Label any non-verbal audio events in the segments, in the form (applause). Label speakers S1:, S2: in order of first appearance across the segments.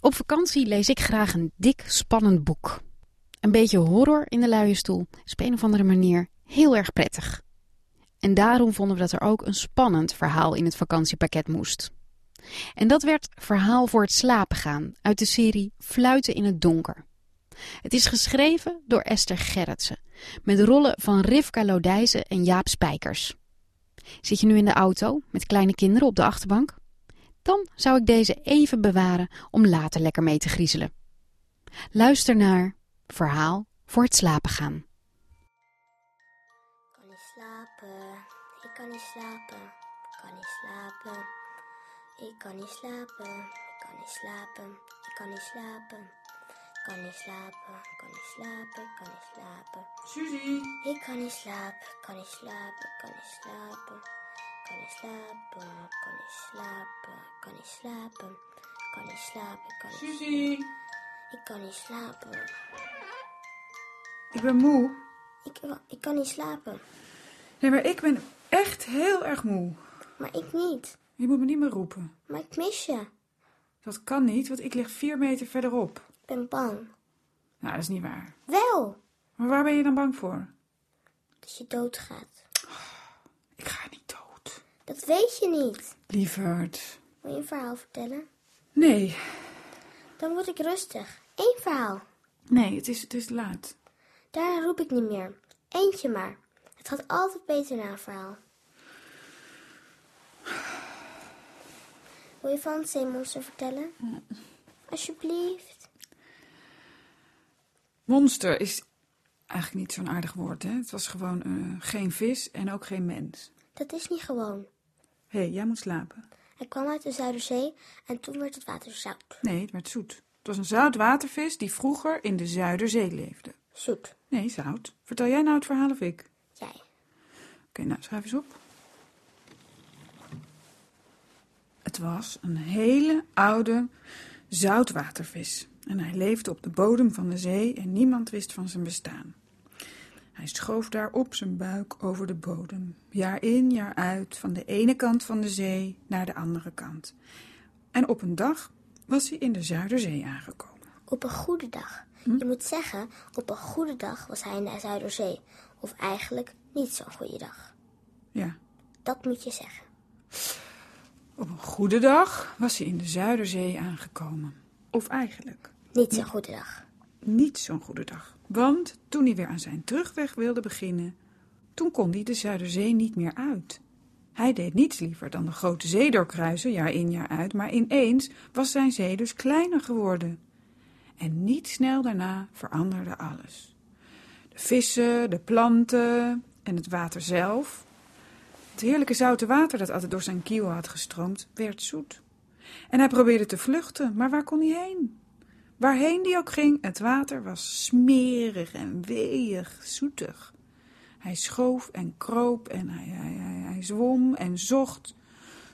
S1: Op vakantie lees ik graag een dik, spannend boek. Een beetje horror in de luie stoel is op een of andere manier heel erg prettig. En daarom vonden we dat er ook een spannend verhaal in het vakantiepakket moest. En dat werd Verhaal voor het slapen gaan uit de serie Fluiten in het donker. Het is geschreven door Esther Gerritsen, met rollen van Rivka Lodijzen en Jaap Spijkers. Zit je nu in de auto met kleine kinderen op de achterbank? Dan zou ik deze even bewaren om later lekker mee te griezelen. Luister naar Verhaal voor het slapen gaan.
S2: Ik kan niet slapen, ik kan niet slapen, ik kan niet slapen. Ik kan niet slapen, ik kan niet slapen, ik kan niet slapen. Ik kan niet slapen, ik kan niet slapen, ik kan niet slapen.
S3: Suzy,
S2: Ik kan niet slapen, ik kan niet slapen, ik kan niet slapen. Ik kan niet slapen, ik kan niet slapen, ik kan niet slapen. Ik kan niet slapen, ik kan niet
S3: Suzy.
S2: Ik kan niet slapen.
S3: Ik ben moe.
S2: Ik, ik kan niet slapen,
S3: Nee, maar ik ben echt heel erg moe.
S2: maar ik niet.
S3: Je moet me niet meer roepen.
S2: Maar ik mis je.
S3: Dat kan niet, want ik lig vier meter verderop.
S2: Ik ben bang.
S3: Nou, dat is niet waar.
S2: Wel,
S3: Maar waar ben je dan bang voor?
S2: dat je doodgaat.
S3: Ik ga niet dood.
S2: Dat weet je niet.
S3: Lieverd.
S2: Wil je een verhaal vertellen?
S3: Nee.
S2: Dan word ik rustig. Eén verhaal.
S3: Nee, het is, het is laat.
S2: Daarna roep ik niet meer. Eentje maar. Het gaat altijd beter na een verhaal. Wil je van het zeemonster vertellen? Alsjeblieft.
S3: Monster is eigenlijk niet zo'n aardig woord, hè? Het was gewoon eh, geen vis en ook geen mens.
S2: Dat is niet gewoon.
S3: Hé, hey, jij moet slapen.
S2: Hij kwam uit de Zuiderzee en toen werd het water zout.
S3: Nee, het werd zoet. Het was een zoutwatervis die vroeger in de Zuiderzee leefde.
S2: Zoet.
S3: Nee, zout. Vertel jij nou het verhaal of ik?
S2: Jij.
S3: Oké, nou, schrijf eens op. Het was een hele oude zoutwatervis. En hij leefde op de bodem van de zee en niemand wist van zijn bestaan. Hij schoof daar op zijn buik over de bodem, jaar in, jaar uit, van de ene kant van de zee naar de andere kant. En op een dag was hij in de Zuiderzee aangekomen.
S2: Op een goede dag. Je moet zeggen, op een goede dag was hij in de Zuiderzee. Of eigenlijk niet zo'n goede dag.
S3: Ja,
S2: Dat moet je zeggen.
S3: op een goede dag was hij in de Zuiderzee aangekomen. Of eigenlijk
S2: Niet zo'n goede dag.
S3: niet zo'n goede dag. Want toen hij weer aan zijn terugweg wilde beginnen, toen kon hij de Zuiderzee niet meer uit. Hij deed niets liever dan de grote zee doorkruisen, jaar in jaar uit, maar ineens was zijn zee dus kleiner geworden. En niet snel daarna veranderde alles. De vissen, de planten en het water zelf. Het heerlijke zoute water dat altijd door zijn kiel had gestroomd, werd zoet. En hij probeerde te vluchten, maar waar kon hij heen? Waarheen die ook ging, het water was smerig en weeg, zoetig. Hij schoof en kroop en hij, hij, hij, hij zwom en zocht,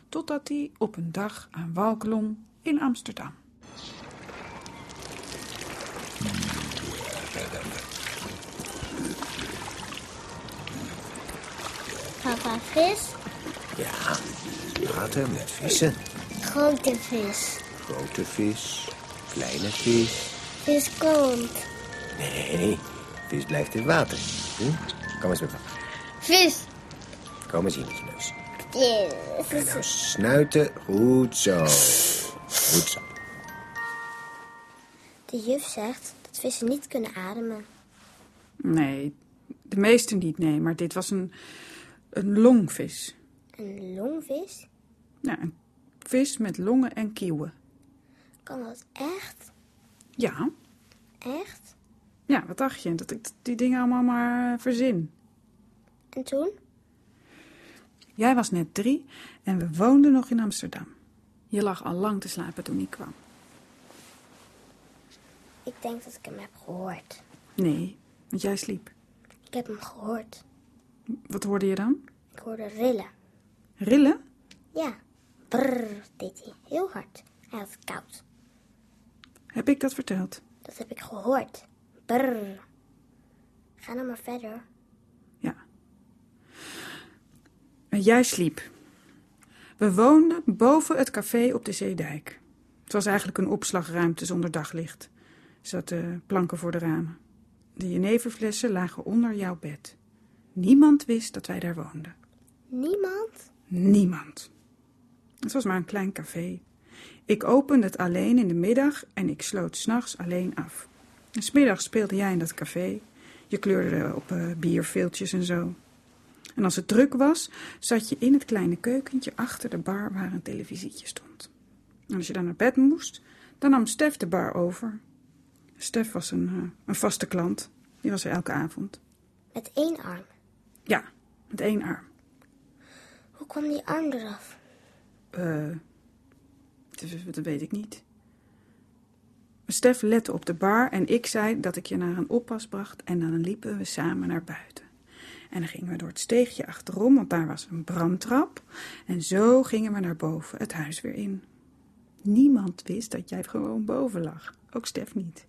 S3: totdat hij op een dag aan wal klom in Amsterdam.
S2: Papa vis,
S4: Ja, water met vissen.
S2: grote vis.
S4: Grote vis, kleine vis.
S2: Vis komt.
S4: Nee, vis blijft in water. Hm? Kom eens met me.
S2: Vis.
S4: Kom eens hier met je neus. En
S2: Yes.
S4: nou snuiten. Goed zo. Goed zo.
S2: De juf zegt dat vissen niet kunnen ademen.
S3: Nee, de meesten niet, nee, maar dit was een, een longvis.
S2: Een longvis?
S3: Ja, een vis met longen en kieuwen.
S2: Kan dat echt?
S3: Ja,
S2: Echt?
S3: ja, wat dacht je? Dat ik die dingen allemaal maar eh, verzin.
S2: En toen?
S3: Jij was net drie en we woonden nog in Amsterdam. Je lag al lang te slapen toen ik kwam.
S2: Ik denk dat ik hem heb gehoord.
S3: Nee, want jij sliep.
S2: Ik heb hem gehoord.
S3: Wat hoorde je dan?
S2: Ik hoorde rillen.
S3: Rillen?
S2: Ja. Brrr, deed hij. Heel hard. Hij had het koud.
S3: Heb ik dat verteld?
S2: Dat heb ik gehoord. Brrr. Ga nou maar verder.
S3: Ja. En jij sliep. We woonden boven het café op de Zeedijk. Het was eigenlijk een opslagruimte zonder daglicht. Er zaten planken voor de ramen. De jeneverflessen lagen onder jouw bed. Niemand wist dat wij daar woonden.
S2: Niemand?
S3: Niemand. Het was maar een klein café. Ik opende het alleen in de middag en ik sloot s'nachts alleen af. En Smiddags speelde jij in dat café. Je kleurde op eh bierveeltjes en zo. En als het druk was, zat je in het kleine keukentje achter de bar waar een televisietje stond. En als je dan naar bed moest, dan nam Stef de bar over. Stef was een, eh, een vaste klant. Die was er elke avond.
S2: Met één arm.
S3: Ja, met één arm.
S2: Hoe kwam die arm eraf?
S3: Eh, dat- dat weet ik niet. Stef lette op de bar en ik zei dat ik je naar een oppas bracht en dan liepen we samen naar buiten. En dan gingen we door het steegje achterom, want daar was een brandtrap. En zo gingen we naar boven, het huis weer in. Niemand wist dat jij gewoon boven lag, ook Stef niet.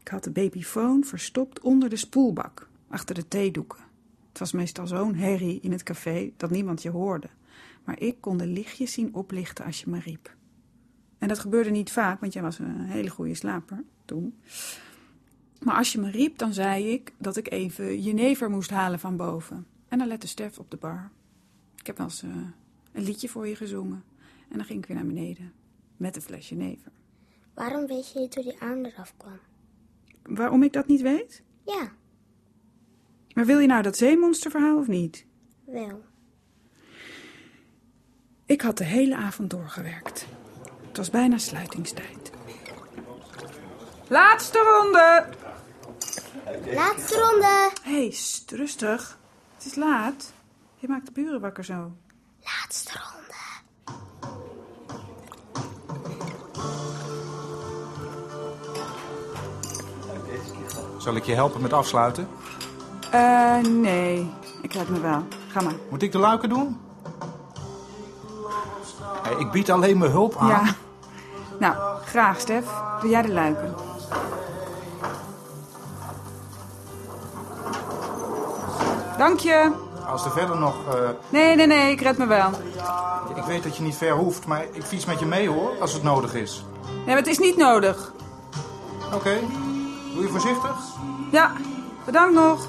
S3: Ik had de babyfoon verstopt onder de spoelbak, achter de theedoeken. Het was meestal zo'n herrie in het café dat niemand je hoorde. Maar ik kon de lichtjes zien oplichten als je me riep. En dat gebeurde niet vaak, want jij was een hele goede slaper toen. Maar als je me riep, dan zei ik dat ik even jenever moest halen van boven. En dan lette Stef op de bar. Ik heb wel eens eh, een liedje voor je gezongen. En dan ging ik weer naar beneden. Met een flesje jenever.
S2: Waarom weet je niet hoe die arm eraf kwam?
S3: Waarom ik dat niet weet?
S2: Ja,
S3: Maar wil je nou dat zeemonsterverhaal of niet?
S2: wel.
S3: Ik had de hele avond doorgewerkt. Het was bijna sluitingstijd. Laatste ronde!
S2: Laatste ronde.
S3: Hé, hey, sst, rustig. Het is laat. Je maakt de buren wakker zo.
S2: Laatste ronde.
S5: Zal ik je helpen met afsluiten?
S3: Eh, nee. Ik red me wel. Ga maar.
S5: Moet ik de luiken doen? Hé, ik bied alleen mijn hulp aan.
S3: Ja. Nou, graag, Stef. Doe jij de luiken. Dank je.
S5: Als er verder nog... eh,
S3: Nee, nee, nee. Ik red me wel.
S5: ik weet dat je niet ver hoeft, maar ik fiets met je mee hoor, als het nodig is.
S3: Nee, maar het is niet nodig.
S5: Oké, doe je voorzichtig.
S3: Ja, bedankt nog.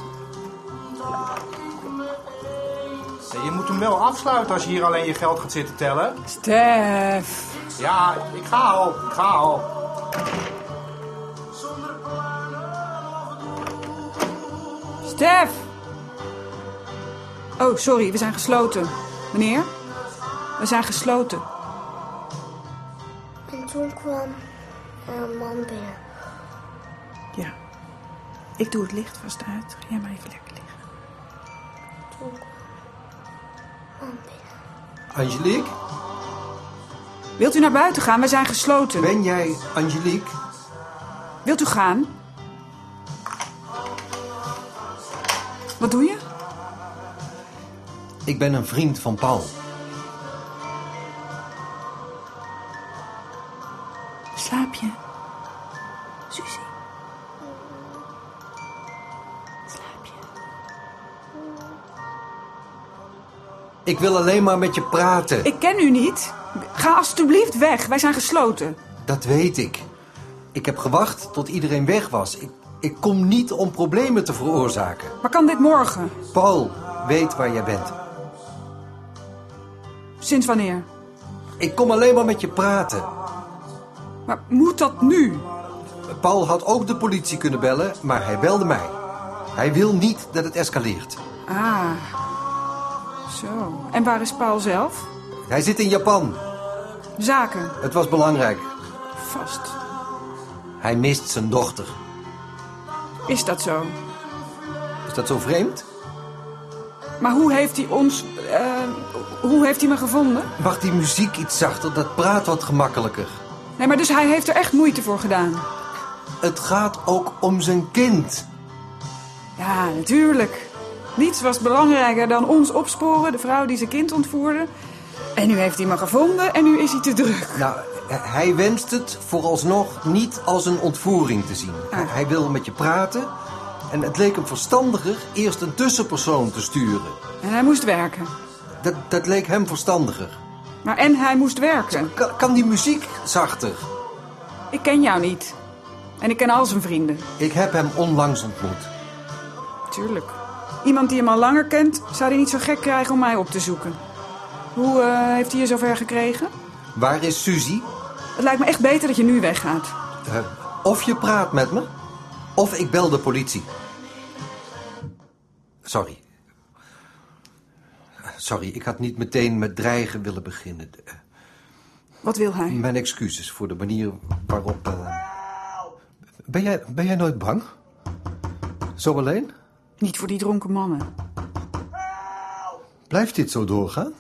S5: Hé, je moet hem wel afsluiten als je hier alleen je geld gaat zitten tellen.
S3: Stef.
S5: Ja, ik ga al, ik ga al.
S3: Stef! Oh, sorry, we zijn gesloten. Meneer? We zijn gesloten.
S2: En toen kwam er een man binnen.
S3: Ja. Ik doe het licht vast uit. Ga jij maar even lekker liggen.
S2: Toen kwam een man binnen.
S6: Angelique,
S3: Wilt u naar buiten gaan? We zijn gesloten.
S6: ben jij Angelique?
S3: Wilt u gaan? Wat doe je?
S6: Ik ben een vriend van Paul.
S3: Slaap je? Suzie. Slaap je?
S6: Ik wil alleen maar met je praten.
S3: Ik ken u niet. Ga alstublieft weg. Wij zijn gesloten.
S6: Dat weet ik. Ik heb gewacht tot iedereen weg was. Ik, ik kom niet om problemen te veroorzaken.
S3: Maar kan dit morgen?
S6: Paul weet waar jij bent.
S3: Sinds wanneer?
S6: Ik kom alleen maar met je praten.
S3: Maar moet dat nu?
S6: Paul had ook de politie kunnen bellen, maar hij belde mij. Hij wil niet dat het escaleert.
S3: Ah. Zo. En waar is Paul zelf?
S6: Hij zit in Japan.
S3: Zaken.
S6: Het was belangrijk.
S3: Vast.
S6: Hij mist zijn dochter.
S3: Is dat zo?
S6: Is dat zo vreemd?
S3: Maar hoe heeft hij ons. eh, hoe heeft hij me gevonden?
S6: Mag die muziek iets zachter? Dat praat wat gemakkelijker.
S3: Nee, maar dus hij heeft er echt moeite voor gedaan.
S6: Het gaat ook om zijn kind.
S3: Ja, natuurlijk. Niets was belangrijker dan ons opsporen, de vrouw die zijn kind ontvoerde. En nu heeft hij me gevonden en nu is hij te druk.
S6: Nou, eh, hij wenst het vooralsnog niet als een ontvoering te zien. Hij- Hij wil met je praten. En het leek hem verstandiger eerst een tussenpersoon te sturen.
S3: En hij moest werken.
S6: Dat, dat leek hem verstandiger.
S3: Maar en hij moest werken.
S6: Kan, kan die muziek zachter?
S3: Ik ken jou niet. En ik ken al zijn vrienden.
S6: Ik heb hem onlangs ontmoet.
S3: Tuurlijk. Iemand die hem al langer kent, zou hij niet zo gek krijgen om mij op te zoeken. Hoe eh, heeft hij je zover gekregen?
S6: Waar is Suzy?
S3: Het lijkt me echt beter dat je nu weggaat.
S6: Eh, of je praat met me, of ik bel de politie. Sorry. Sorry, ik had niet meteen met dreigen willen beginnen. Eh,
S3: Wat wil hij?
S6: Mijn excuses voor de manier waarop... eh, Ben, jij, ben jij nooit bang? Zo alleen?
S3: Niet voor die dronken mannen.
S6: Blijft dit zo doorgaan?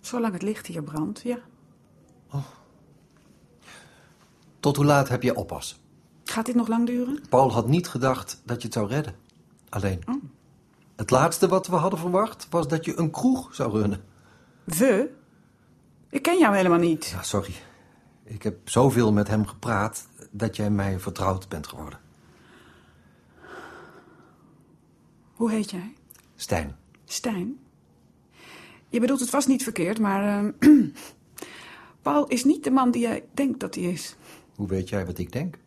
S3: Zolang het licht hier brandt, ja.
S6: Tot hoe laat heb je oppas?
S3: Gaat dit nog lang duren?
S6: Paul had niet gedacht dat je het zou redden. Alleen. Het laatste wat we hadden verwacht was dat je een kroeg zou runnen.
S3: We? Ik ken jou helemaal niet.
S6: Ja, sorry. Ik heb zoveel met hem gepraat dat jij mij vertrouwd bent geworden.
S3: Hoe heet jij?
S6: Stijn,
S3: Stijn? Je bedoelt het vast niet verkeerd, maar... eh, (clears throat) Paul is niet de man die jij denkt dat hij is.
S6: hoe weet jij wat ik denk?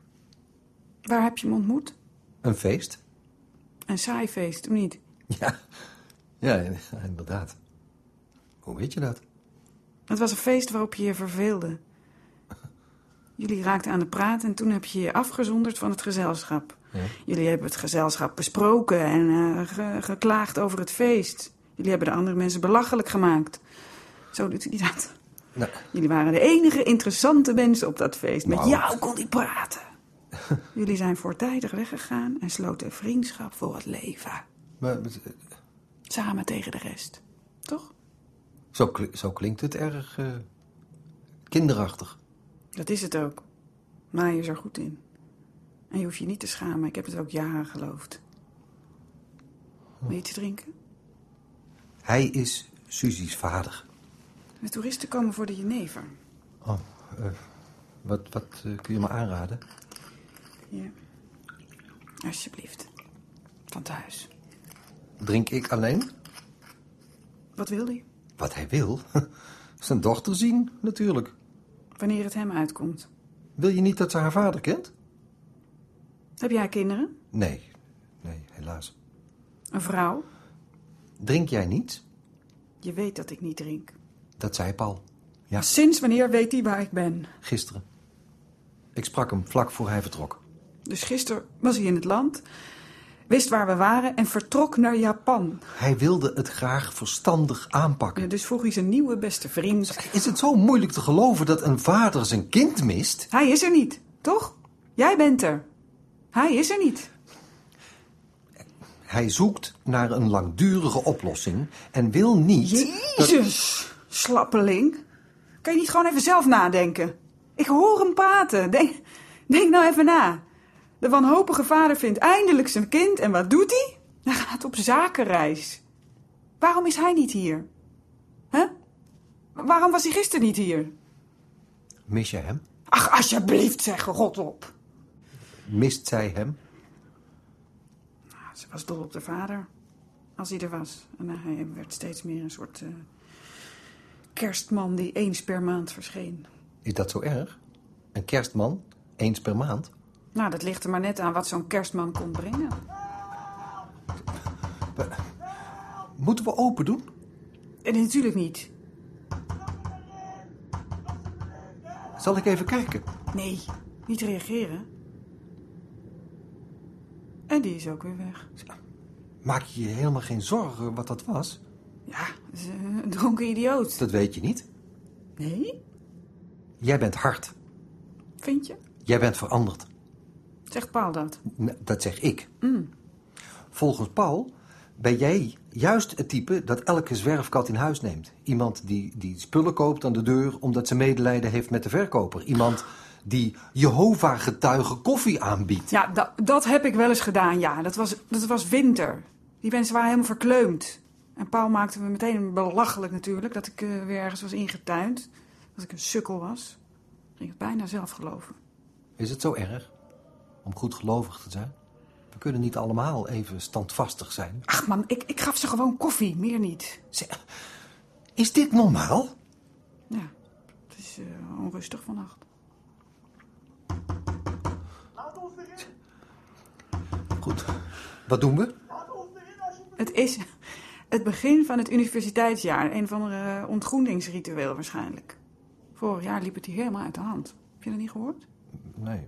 S3: Waar heb je hem ontmoet?
S6: Een feest? (laughs)
S3: Een saai feest, of niet?
S6: Ja. Ja, inderdaad. Hoe weet je dat?
S3: Het was een feest waarop je je verveelde. Jullie raakten aan de praat en toen heb je je afgezonderd van het gezelschap. Jullie hebben het gezelschap besproken en eh, ge- geklaagd over het feest. Jullie hebben de andere mensen belachelijk gemaakt. Zo doet hij dat.
S6: Nou,
S3: Jullie waren de enige interessante mensen op dat feest. Met
S6: Nou.
S3: jou kon hij praten. (laughs) Jullie zijn voortijdig weggegaan en sloten vriendschap voor het leven.
S6: maar, eh,
S3: Samen tegen de rest. Toch?
S6: zo, kli- zo klinkt het erg eh, kinderachtig.
S3: Dat is het ook. Maar je is er goed in. En je hoeft je niet te schamen. Ik heb het ook jaren geloofd. Wil je iets drinken?
S6: Hij is Suzy's vader.
S3: De toeristen komen voor de jenever.
S6: Oh, eh, wat, wat eh, kun je me aanraden?
S3: Ja. Alsjeblieft. Van thuis.
S6: Drink ik alleen?
S3: Wat wil hij?
S6: Wat hij wil? (laughs) Zijn dochter zien, natuurlijk.
S3: Wanneer het hem uitkomt.
S6: Wil je niet dat ze haar vader kent?
S3: Heb jij kinderen?
S6: Nee, nee, helaas.
S3: Een vrouw?
S6: Drink jij niet?
S3: Je weet dat ik niet drink.
S6: Dat zei Paul. Ja,
S3: Sinds wanneer weet hij waar ik ben?
S6: gisteren. Ik sprak hem vlak voor hij vertrok.
S3: Dus gisteren was hij in het land, wist waar we waren en vertrok naar Japan.
S6: Hij wilde het graag verstandig aanpakken.
S3: Ja, dus vroeg hij zijn nieuwe beste vriend.
S6: Is het zo moeilijk te geloven dat een vader zijn kind mist?
S3: Hij is er niet, toch? Jij bent er. Hij is er niet.
S6: Hij zoekt naar een langdurige oplossing en wil niet...
S3: Jezus, slappeling. Kan je niet gewoon even zelf nadenken? Ik hoor hem praten. Denk, denk nou even na. De wanhopige vader vindt eindelijk zijn kind en wat doet hij? Hij gaat op zakenreis. Waarom is hij niet hier? Hè? Waarom was hij gisteren niet hier?
S6: Mis je hem?
S3: Ach, alsjeblieft, zeg God op.
S6: Mist zij hem?
S3: Ze was dol op de vader, als hij er was. En hij werd steeds meer een soort eh, kerstman die eens per maand verscheen.
S6: Is dat zo erg? Een kerstman, eens per maand?
S3: Nou, dat ligt er maar net aan wat zo'n kerstman kon brengen.
S6: Moeten we open doen?
S3: En natuurlijk niet.
S6: Zal ik even kijken?
S3: Nee, niet reageren. En die is ook weer weg.
S6: Maak je je helemaal geen zorgen wat dat was?
S3: Ja, dat is, eh, een dronken idioot.
S6: Dat weet je niet.
S3: Nee,
S6: Jij bent hard.
S3: vind je?
S6: Jij bent veranderd.
S3: Zegt Paul dat.
S6: N- Dat zeg ik. Volgens Paul ben jij juist het type dat elke zwerfkat in huis neemt. Iemand die, die spullen koopt aan de deur omdat ze medelijden heeft met de verkoper. Iemand die Jehovah-getuige koffie aanbiedt.
S3: Ja, da- dat heb ik wel eens gedaan, ja. Dat was, dat was winter. Die mensen waren helemaal verkleumd. En Paul maakte me meteen belachelijk natuurlijk... dat ik eh, weer ergens was ingetuind. Dat ik een sukkel was. Ik het bijna zelf geloven.
S6: Is het zo erg om goed gelovig te zijn? We kunnen niet allemaal even standvastig zijn.
S3: Ach man, ik, ik gaf ze gewoon koffie, meer niet.
S6: Zeg, Is dit normaal?
S3: Ja, het is eh, onrustig vannacht.
S6: Goed. Wat doen we?
S3: Het is (laughs) het begin van het universiteitsjaar. Een van de ontgroeningsritueel waarschijnlijk. Vorig jaar liep het hier helemaal uit de hand. Heb je dat niet gehoord?
S6: Nee.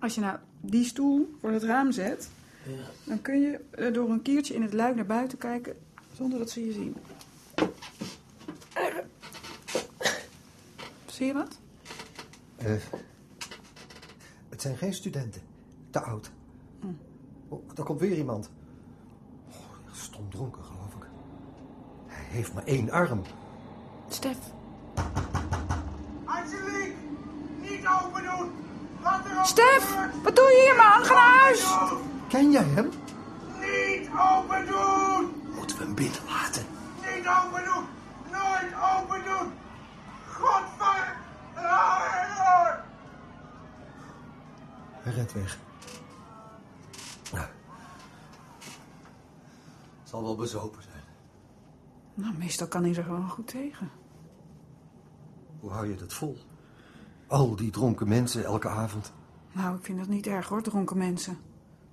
S3: Als je nou die stoel voor het raam zet, dan kun je eh, door een kiertje in het luik naar buiten kijken zonder dat ze je zien. Zie je wat?
S6: Eh, het zijn geen studenten. Te oud. Oh, daar komt weer iemand. Oh, stom dronken, geloof ik. Hij heeft maar één arm.
S3: Stef.
S7: Angelique, niet open doen! Wat er ook
S3: Stef!
S7: gebeurt,
S3: Wat doe je hier, man? Ga naar huis!
S6: Ken jij hem?
S7: Niet open doen!
S6: Moeten we hem binnen laten?
S7: Niet open doen! Nooit open doen! Godver...
S6: Hij rent weg. Nou. Zal wel bezopen zijn.
S3: Nou, meestal kan hij er gewoon goed tegen.
S6: Hoe hou je dat vol? Al die dronken mensen elke avond.
S3: Nou, ik vind dat niet erg hoor, dronken mensen.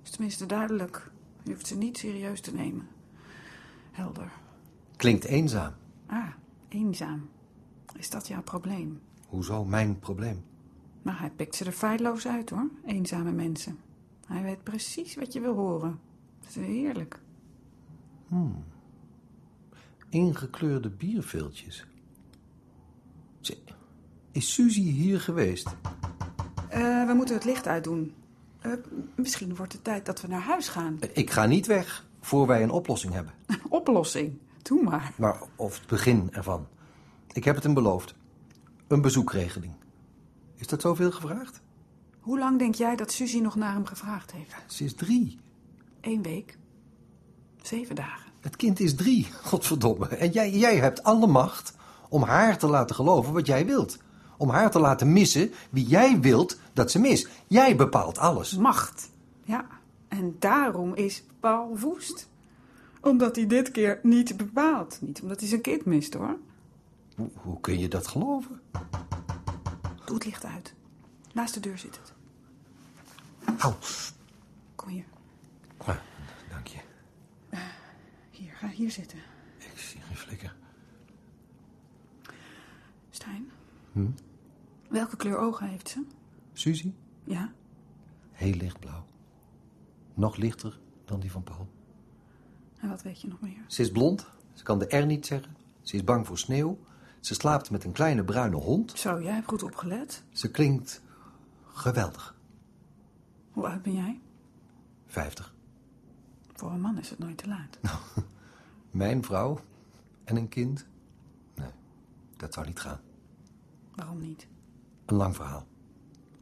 S3: Is tenminste duidelijk. Je hoeft ze niet serieus te nemen. Helder.
S6: Klinkt eenzaam.
S3: Ah, eenzaam. Is dat jouw probleem?
S6: Hoezo mijn probleem?
S3: Maar hij pikt ze er feilloos uit hoor, eenzame mensen. Hij weet precies wat je wil horen. Dat is heerlijk.
S6: Ingekleurde bierveeltjes. Ze- Is Suzy hier geweest?
S3: Eh, we moeten het licht uitdoen. Eh, misschien wordt het tijd dat we naar huis gaan.
S6: Ik ga niet weg voor wij een oplossing hebben.
S3: (laughs) Oplossing. Doe maar.
S6: Maar of het begin ervan. Ik heb het hem beloofd. Een bezoekregeling. Is dat zoveel gevraagd?
S3: Hoe lang denk jij dat Suzy nog naar hem gevraagd heeft?
S6: Ze is drie.
S3: Eén week. Zeven dagen.
S6: Het kind is drie, (laughs) godverdomme. En jij, jij hebt alle macht om haar te laten geloven wat jij wilt. Om haar te laten missen wie jij wilt dat ze mis. Jij bepaalt alles.
S3: Macht. Ja. En daarom is Paul woest. Omdat hij dit keer niet bepaalt. Niet omdat hij zijn kind mist hoor.
S6: Hoe, hoe kun je dat geloven?
S3: Doe het licht uit. Naast de deur zit het.
S6: Au.
S3: Kom hier.
S6: Ah, dank je.
S3: Hier, ga hier zitten.
S6: Ik zie geen flikker.
S3: Stijn. Welke kleur ogen heeft ze?
S6: Suzy?
S3: Ja.
S6: Heel lichtblauw. Nog lichter dan die van Paul.
S3: En wat weet je nog meer?
S6: Ze is blond. Ze kan de R niet zeggen. Ze is bang voor sneeuw. Ze slaapt met een kleine bruine hond.
S3: Zo, jij hebt goed opgelet.
S6: Ze klinkt geweldig.
S3: Hoe oud ben jij?
S6: 50.
S3: Voor een man is het nooit te laat.
S6: Mijn vrouw en een kind? Nee, dat zou niet gaan.
S3: Waarom niet?
S6: Een lang verhaal.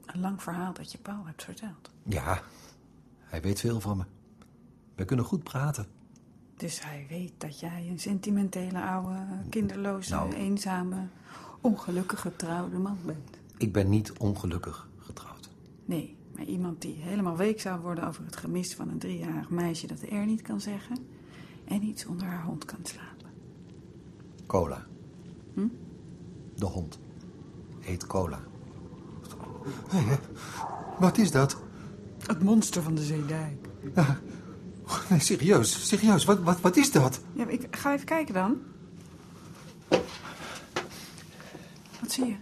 S3: Een lang verhaal dat je Paul hebt verteld.
S6: Ja, hij weet veel van me. We kunnen goed praten.
S3: Dus hij weet dat jij een sentimentele, oude, kinderloze,
S6: Nou.
S3: eenzame, ongelukkig getrouwde man bent.
S6: Ik ben niet ongelukkig getrouwd.
S3: Nee, maar iemand die helemaal week zou worden over het gemis van een driejarig meisje dat de R niet kan zeggen en iets onder haar hond kan slapen.
S6: Cola. De hond heet Cola. Wat is dat?
S3: Het monster van de zeedijk.
S6: Nee, serieus, serieus, wat, wat, wat is dat?
S3: Ja, maar ik ga even kijken dan. Wat zie je?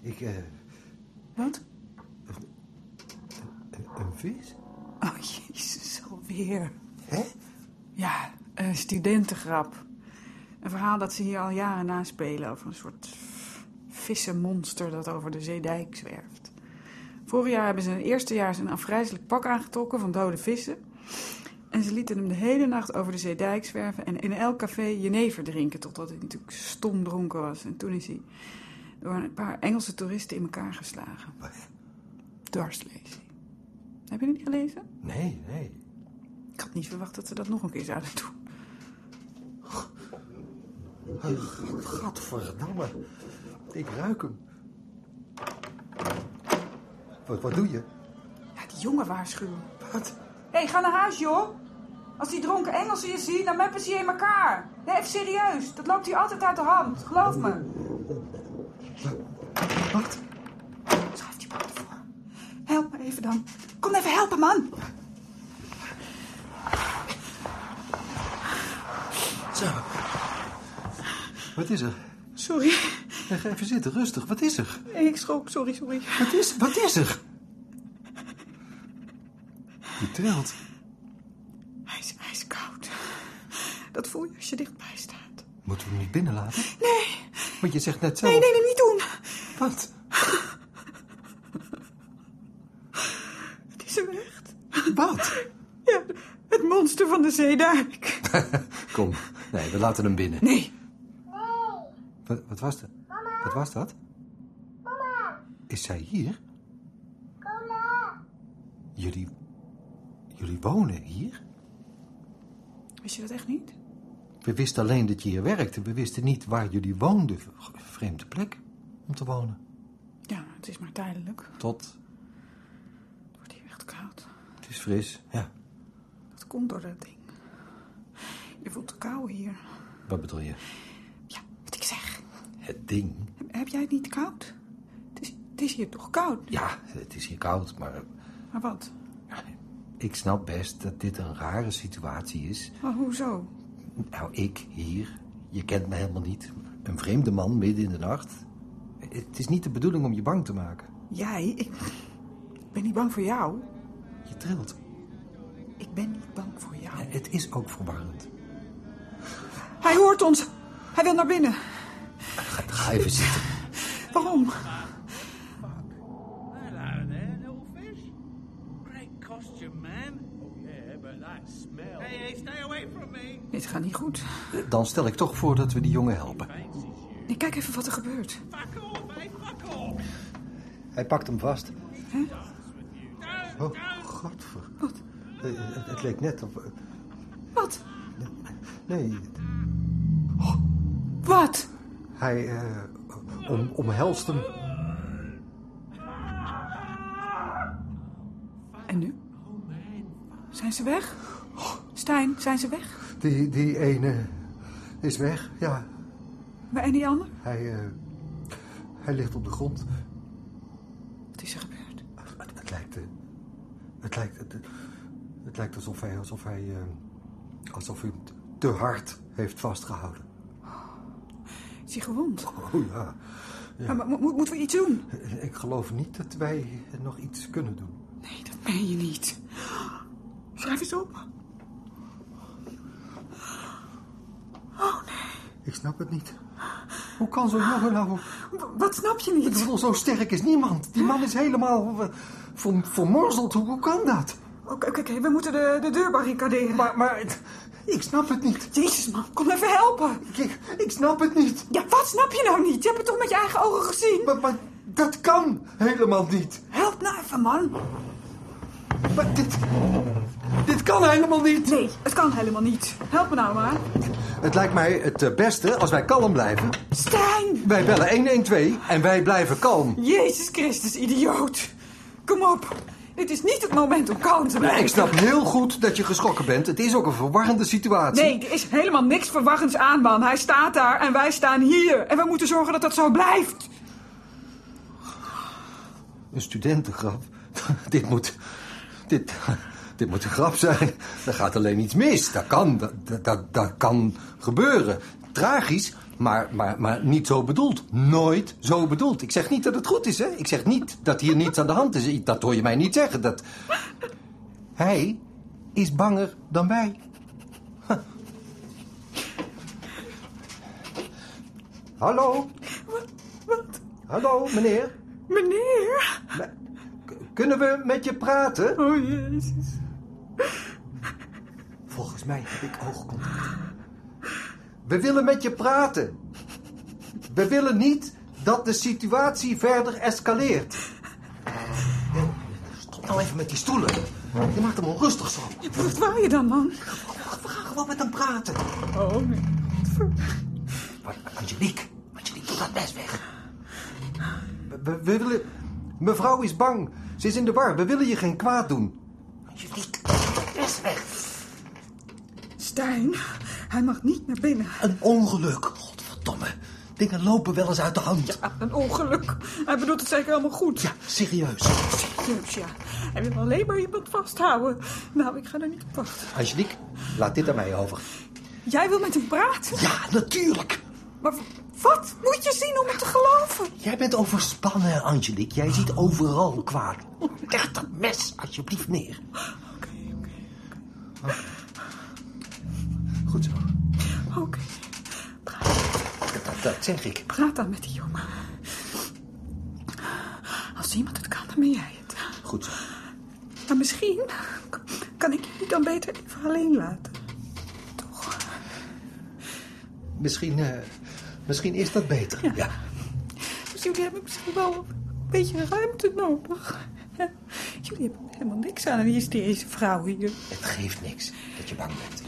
S6: Ik, eh,
S3: Wat?
S6: een vis?
S3: Oh, (laughs) jezus, alweer.
S6: Hè?
S3: Ja, een studentengrap. Een verhaal dat ze hier al jaren naspelen over een soort vissenmonster dat over de zeedijk zwerft. Vorig jaar hebben ze een eerstejaars een afgrijzelijk pak aangetrokken van dode vissen. En ze lieten hem de hele nacht over de zeedijk zwerven en in elk café jenever drinken, totdat hij natuurlijk stom dronken was. En toen is hij door een paar Engelse toeristen in elkaar geslagen. Dwarslezing. Heb je het niet gelezen?
S6: Nee, nee.
S3: Ik had niet verwacht dat ze dat nog een keer zouden doen.
S6: Gadverdamme. Ik ruik hem. Wat, wat doe je?
S3: Ja, die jongen waarschuwen.
S6: Wat?
S3: Hé, hey, ga naar huis, joh. Als die dronken Engelsen je zien, dan meppen ze je in elkaar. Nee, even serieus. Dat loopt hier altijd uit de hand. Geloof me.
S6: Wacht.
S3: Schuif die bal voor. Help me even dan. Kom even helpen, man.
S6: Zo. Wat is er?
S3: Sorry.
S6: Ja, Ga even zitten, rustig. Wat is er?
S3: Ik schrok. Sorry, sorry.
S6: Wat is, wat is er? Die trilt.
S3: Hij is ijskoud. Dat voel je als je dichtbij staat.
S6: Moeten we hem niet binnenlaten?
S3: Nee,
S6: Want je zegt net zelf...
S3: nee, nee, nee, niet doen.
S6: Wat?
S3: Het is hem echt.
S6: Wat?
S3: Ja, het monster van de zeedijk.
S6: Kom. Nee, we laten hem binnen.
S3: Nee.
S6: Wat, wat was dat? Wat was dat? Is zij hier? Jullie... Jullie wonen hier?
S3: Wist je dat echt niet?
S6: We wisten alleen dat je hier werkte. We wisten niet waar jullie woonden. G- Vreemde plek om te wonen.
S3: Ja, het is maar tijdelijk.
S6: Tot...
S3: Het wordt hier echt koud.
S6: Het is fris. Ja.
S3: Dat komt door dat ding. Je voelt de kou hier.
S6: Wat bedoel je?
S3: Ja, wat ik zeg.
S6: Het ding.
S3: Heb jij het niet koud? Het is, het is hier toch koud?
S6: Ja, het is hier koud, maar
S3: Maar wat?
S6: ik snap best dat dit een rare situatie is.
S3: Maar hoezo?
S6: Nou, ik hier, je kent me helemaal niet. Een vreemde man midden in de nacht. Het is niet de bedoeling om je bang te maken.
S3: Jij? Ik, ik ben niet bang voor jou.
S6: Je trilt.
S3: Ik ben niet bang voor jou.
S6: En Het is ook verwarrend.
S3: Hij hoort ons. Hij wil naar binnen.
S6: Ga even zitten.
S3: Waarom?
S8: Hello there, little fish. Great costume, man. Oh, yeah, but that smell. Hey, hey, stay away from me.
S3: Dit gaat niet goed.
S6: Dan stel ik toch voor dat we die jongen helpen.
S3: Nee, kijk even wat er gebeurt.
S8: Fuck off, hey, fuck off.
S6: Hij pakt hem vast.
S8: Don't,
S6: Oh,
S8: don't.
S6: godver. Wat? Het, het leek net of... eh,
S3: Wat?
S6: Nee,
S3: Wat?
S6: hij eh, om, omhelst hem.
S3: En nu? Zijn ze weg? Stijn, zijn ze weg?
S6: Die, die ene is weg, ja.
S3: Maar en die ander?
S6: Hij, eh, hij ligt op de grond.
S3: Wat is er gebeurd?
S6: Het, het lijkt. eh, Het lijkt. Het, het lijkt alsof hij. Alsof hij. eh, alsof hij hem t- te hard heeft vastgehouden.
S3: Is hij gewond?
S6: Oh ja.
S3: Maar, maar mo- moeten we iets doen?
S6: Ik geloof niet dat wij nog iets kunnen doen.
S3: Nee, dat meen je niet. Schrijf eens op.
S6: Ik snap het niet. Hoe kan zo'n jongen nou.
S3: W- wat snap je
S6: Ik
S3: niet?
S6: bedoel, zo sterk is niemand. Die man is helemaal. eh, Ver, vermorzeld. Hoe, hoe kan dat?
S3: Oké, oké, oké, we moeten de, de deur barricaderen.
S6: Maar, maar. het- Ik snap het niet.
S3: Jezus man, kom even helpen.
S6: Ik, ik snap het niet.
S3: Ja, wat snap je nou niet? Je hebt het toch met je eigen ogen gezien?
S6: Maar, maar dat kan helemaal niet.
S3: Help nou even man.
S6: Maar dit. Dit kan helemaal niet.
S3: Nee, het kan helemaal niet. Help me nou maar.
S6: Het lijkt mij het eh, beste als wij kalm blijven.
S3: Stijn!
S6: Wij bellen 112 en wij blijven kalm.
S3: Jezus Christus, idioot. Kom op. Dit is niet het moment om kalm te
S6: Nou,
S3: blijven.
S6: ik snap heel goed dat je geschrokken bent. Het is ook een verwarrende situatie.
S3: Nee, er is helemaal niks verwachtends aan, man. Hij staat daar en wij staan hier. En we moeten zorgen dat dat zo blijft.
S6: Een studentengrap. (laughs) dit moet... Dit, dit moet een grap zijn. Er gaat alleen iets mis. Dat kan, dat, dat, dat kan gebeuren. Tragisch, maar, maar, maar niet zo bedoeld. Nooit zo bedoeld. Ik zeg niet dat het goed is, hè. Ik zeg niet dat hier niets aan de hand is. Dat hoor je mij niet zeggen. Dat... Hij is banger dan wij. Hallo,
S3: Wat? Wat?
S6: hallo meneer.
S3: Meneer?
S6: K- Kunnen we met je praten?
S3: Oh, Jezus.
S6: Volgens mij heb ik oogcontact. We willen met je praten. We willen niet dat de situatie verder escaleert. Stop nou even met die stoelen. Je maakt hem onrustig zo.
S3: Wat waar je dan, man?
S6: We gaan gewoon met hem praten.
S3: Oh, nee.
S6: Maar Angelique, Angelique, doe dat best weg. We, we- we willen... Mevrouw is bang. Ze is in de war. We willen je geen kwaad doen. Angelique, doe dat best weg.
S3: Stijn, hij mag niet naar binnen.
S9: Een ongeluk. Godverdomme. Dingen lopen wel eens uit de hand.
S3: Ja, een ongeluk. Hij bedoelt het zeker helemaal goed.
S9: Ja, serieus.
S3: Jeus, ja. Hij wil alleen maar iemand vasthouden. Nou, ik ga er niet op wachten.
S4: Angelique, laat dit aan mij over.
S3: Jij wil met hem praten?
S9: Ja, natuurlijk.
S3: Maar w- wat moet je zien om het te geloven?
S9: Jij bent overspannen, Angelique. Jij ziet overal kwaad. Leg dat mes alsjeblieft neer.
S3: Oké, oké,
S9: Goed zo.
S3: oké.
S9: Dat, dat- dat zeg ik.
S3: Praat dan met die jongen. Als iemand het kan, dan ben jij het.
S9: Goed zo.
S3: Maar misschien k- kan ik je dan beter even alleen laten.
S9: Misschien, eh, misschien is dat beter. Ja.
S3: Dus jullie hebben misschien wel een beetje ruimte nodig. Jullie hebben helemaal niks aan een hysterische vrouw hier.
S9: Het geeft niks dat je bang bent.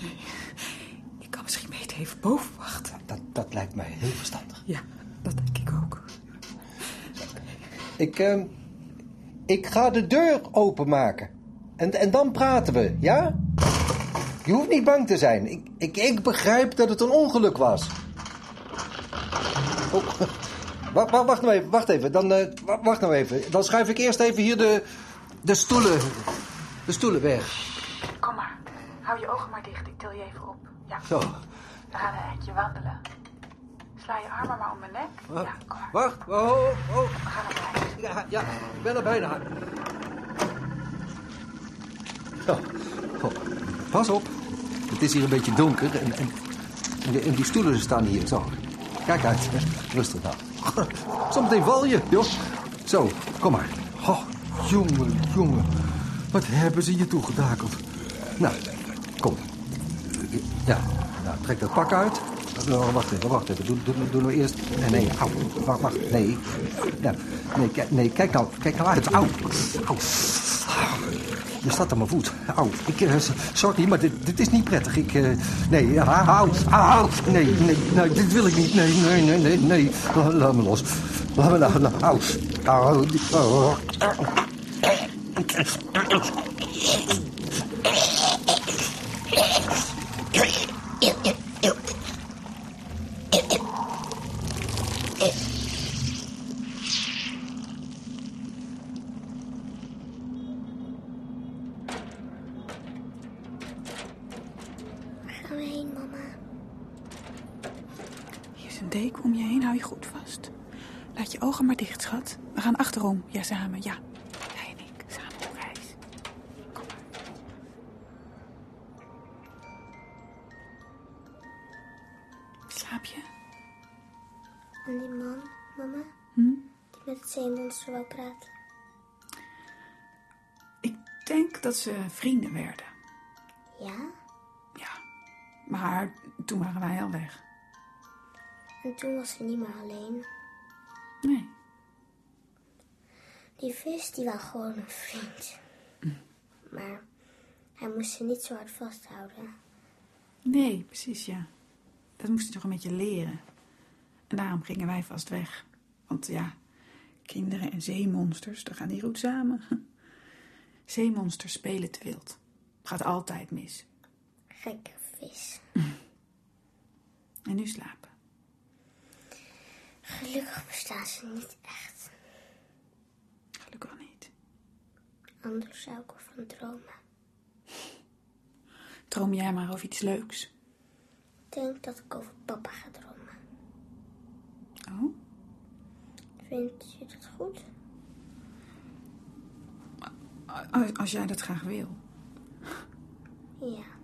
S3: Ik kan misschien beter even boven wachten.
S9: Dat, dat lijkt mij heel verstandig.
S3: Ja, dat denk ik ook.
S4: Ik, ehm, ik ga de deur openmaken. En, en dan praten we, ja? Je hoeft niet bang te zijn. Ik, ik, ik begrijp dat het een ongeluk was. Oh, (laughs) wa- wa- wacht nou even, wacht even. Dan, eh, wa- wacht nou even. Dan schuif ik eerst even hier de, de stoelen. De stoelen weg.
S10: Kom maar. Hou je ogen maar dicht. Ik til je even op. Ja.
S4: Zo.
S10: Naar een eindje wandelen. Sla je armen maar om mijn nek. Ja, kom maar.
S4: Wacht, oh, oh.
S10: We gaan erbij.
S4: Ja, ja, ik ben er bijna.
S6: Ja. Oh, Pas op. Het is hier een beetje donker en, en, en die- en die stoelen staan hier. Zo. Kijk uit. (laughs) Rustig nou. (laughs) Zometeen val je, joh. Zo, kom maar. Oh, jongen, jongen. Wat hebben ze je toegedakeld. Nou, kom. Ja, nou, trek dat pak uit. Oh, wacht even, wacht even. Doe- doe- Doen we eerst... Nee, nee, au. Wacht, wacht. Nee. Ja, nee, kijk- nee, kijk nou. Kijk nou uit. Au. Au. Je staat aan mijn voet. Au, ik, eh, sorry, maar dit, dit is niet prettig. Ik, eh, nee, au, au, au. Nee, nee, nee, dit wil ik niet. Nee, nee, nee, nee, nee. La- Laat me los. Laat me nou, nou, au. Au, die- au.
S2: Waar gaan we heen, mama?
S3: Hier is een deken om je heen. Hou je goed vast. Laat je ogen maar dicht, schat. We gaan achterom. Ja, samen. Ja. Jij en ik. Samen op reis. Kom maar. Slaap je?
S2: En die man, mama? Die met het zeemonster wou praten.
S3: Ik denk dat ze vrienden werden.
S2: Ja?
S3: Ja. Maar toen waren wij al weg.
S2: En toen was ze niet meer alleen.
S3: Nee.
S2: Die vis, die was gewoon een vriend. Maar hij moest ze niet zo hard vasthouden.
S3: Nee, precies, ja. Dat moest je toch een beetje leren. En daarom gingen wij vast weg. Want ja, kinderen en zeemonsters, daar gaan die goed samen. (laughs) Zeemonsters spelen te wild. Gaat altijd mis.
S2: Gekke vis.
S3: En nu slapen.
S2: Gelukkig bestaan ze niet echt.
S3: Gelukkig niet.
S2: Anders zou ik ervan dromen.
S3: Droom jij maar over iets leuks.
S2: Ik denk dat ik over papa ga dromen.
S3: Oh?
S2: Vindt je dat goed?
S3: Oh, Als, als jij dat graag wil.
S2: Ja.